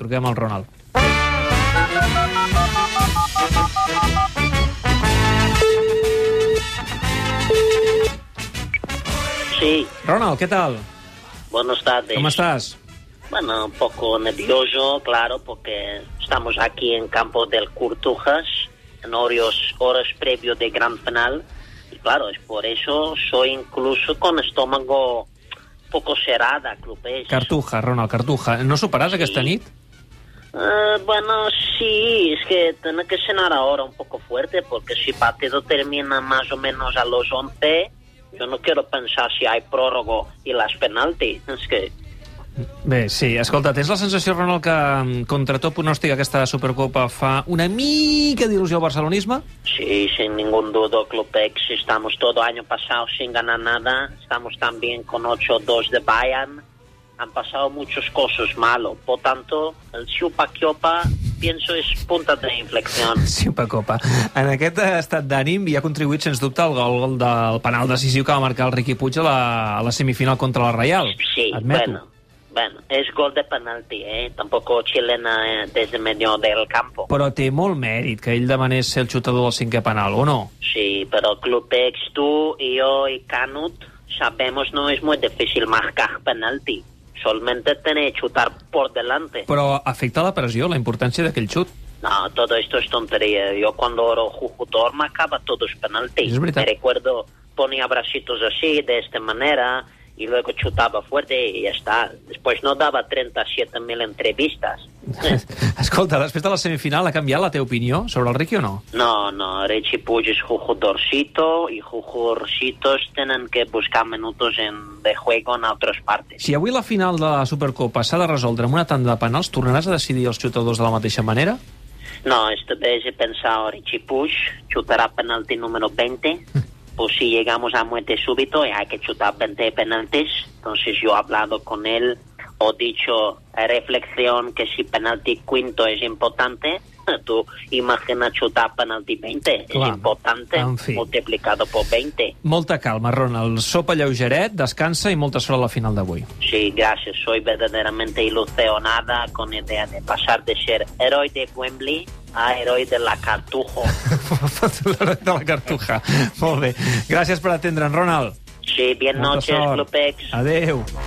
Truquem al Ronald. Sí, Ronald, ¿qué tal? buenas tardes. ¿Cómo estás? Bueno, un poco nervioso, claro, porque estamos aquí en campo del Curtujas, en horarios, horas previos de gran final. Y claro, es por eso soy incluso con estómago poco cerrada, clubes. Cartuja, Ronald, Cartuja. No superàs aquesta nit? Eh, bueno, sí, es que tiene que cenar ahora un poco fuerte, porque si partido termina más o menos a los 11, yo no quiero pensar si hay prórrogo y las penaltis. Es que Bé, sí. Escolta, tens la sensació, Ronald, que mm, contra tot pronòstic aquesta Supercopa fa una mica d'il·lusió al barcelonisme? Sí, sin ningún duda, Clubex. Estamos todo año pasado sin ganar nada. Estamos también con 8-2 de Bayern. Han pasado muchas cosas malas. Por tanto, el Chupa Kiopa, pienso, es punta de inflexión. Sí, Copa. En aquest estat d'ànim hi ha contribuït, sens dubte, el gol, gol del penal decisiu que va marcar el Riqui Puig a la, a la semifinal contra la Reial. Sí, Admeto. bueno. Bueno, es gol de penalti, ¿eh? Tampoco chilena eh, desde medio del campo. Però té molt mèrit que ell demanés ser el xutador del cinquè penal, o no? Sí, pero Clubex, tú y yo y Canut sabemos no es muy difícil marcar penalti. Solamente tener que chutar por delante. Però afecta la pressió, la importància d'aquell xut. No, todo esto es tontería. Yo cuando era jugador marcaba todos penaltis. Es verdad. Me recuerdo ponía bracitos así, de esta manera, y luego chutaba fuerte y ya está. Después no daba 37.000 entrevistas. Escolta, després de la semifinal ha canviat la teva opinió sobre el Riqui o no? No, no, Richie Puig es jugadorcito y jugadorcitos tienen que buscar minutos en, de juego en otras partes. Si avui la final de la Supercopa s'ha de resoldre amb una tanda de penals, tornaràs a decidir els xutadors de la mateixa manera? No, esta vez he pensado, Richie Puig chutará penalti número 20. Pues si llegamos a muerte súbito y hay que chutar 20 penaltis. Entonces yo he hablado con él, he dicho, eh, reflexión, que si penalti quinto es importante, eh, tú imagina chutar penalti 20. Claro, es importante, en fin. multiplicado por 20. Molta calma, Ronald. Sopa lleugeret, descansa i molta sort a la final d'avui. Sí, gracias. Soy verdaderamente ilusionada con idea de pasar de ser héroe de Wembley a héroe de la Cartujo. L'hora de la cartuja. Molt bé. Gràcies per atendre'ns, Ronald. Sí, bien Molta noches, sort. Clupex. Adéu.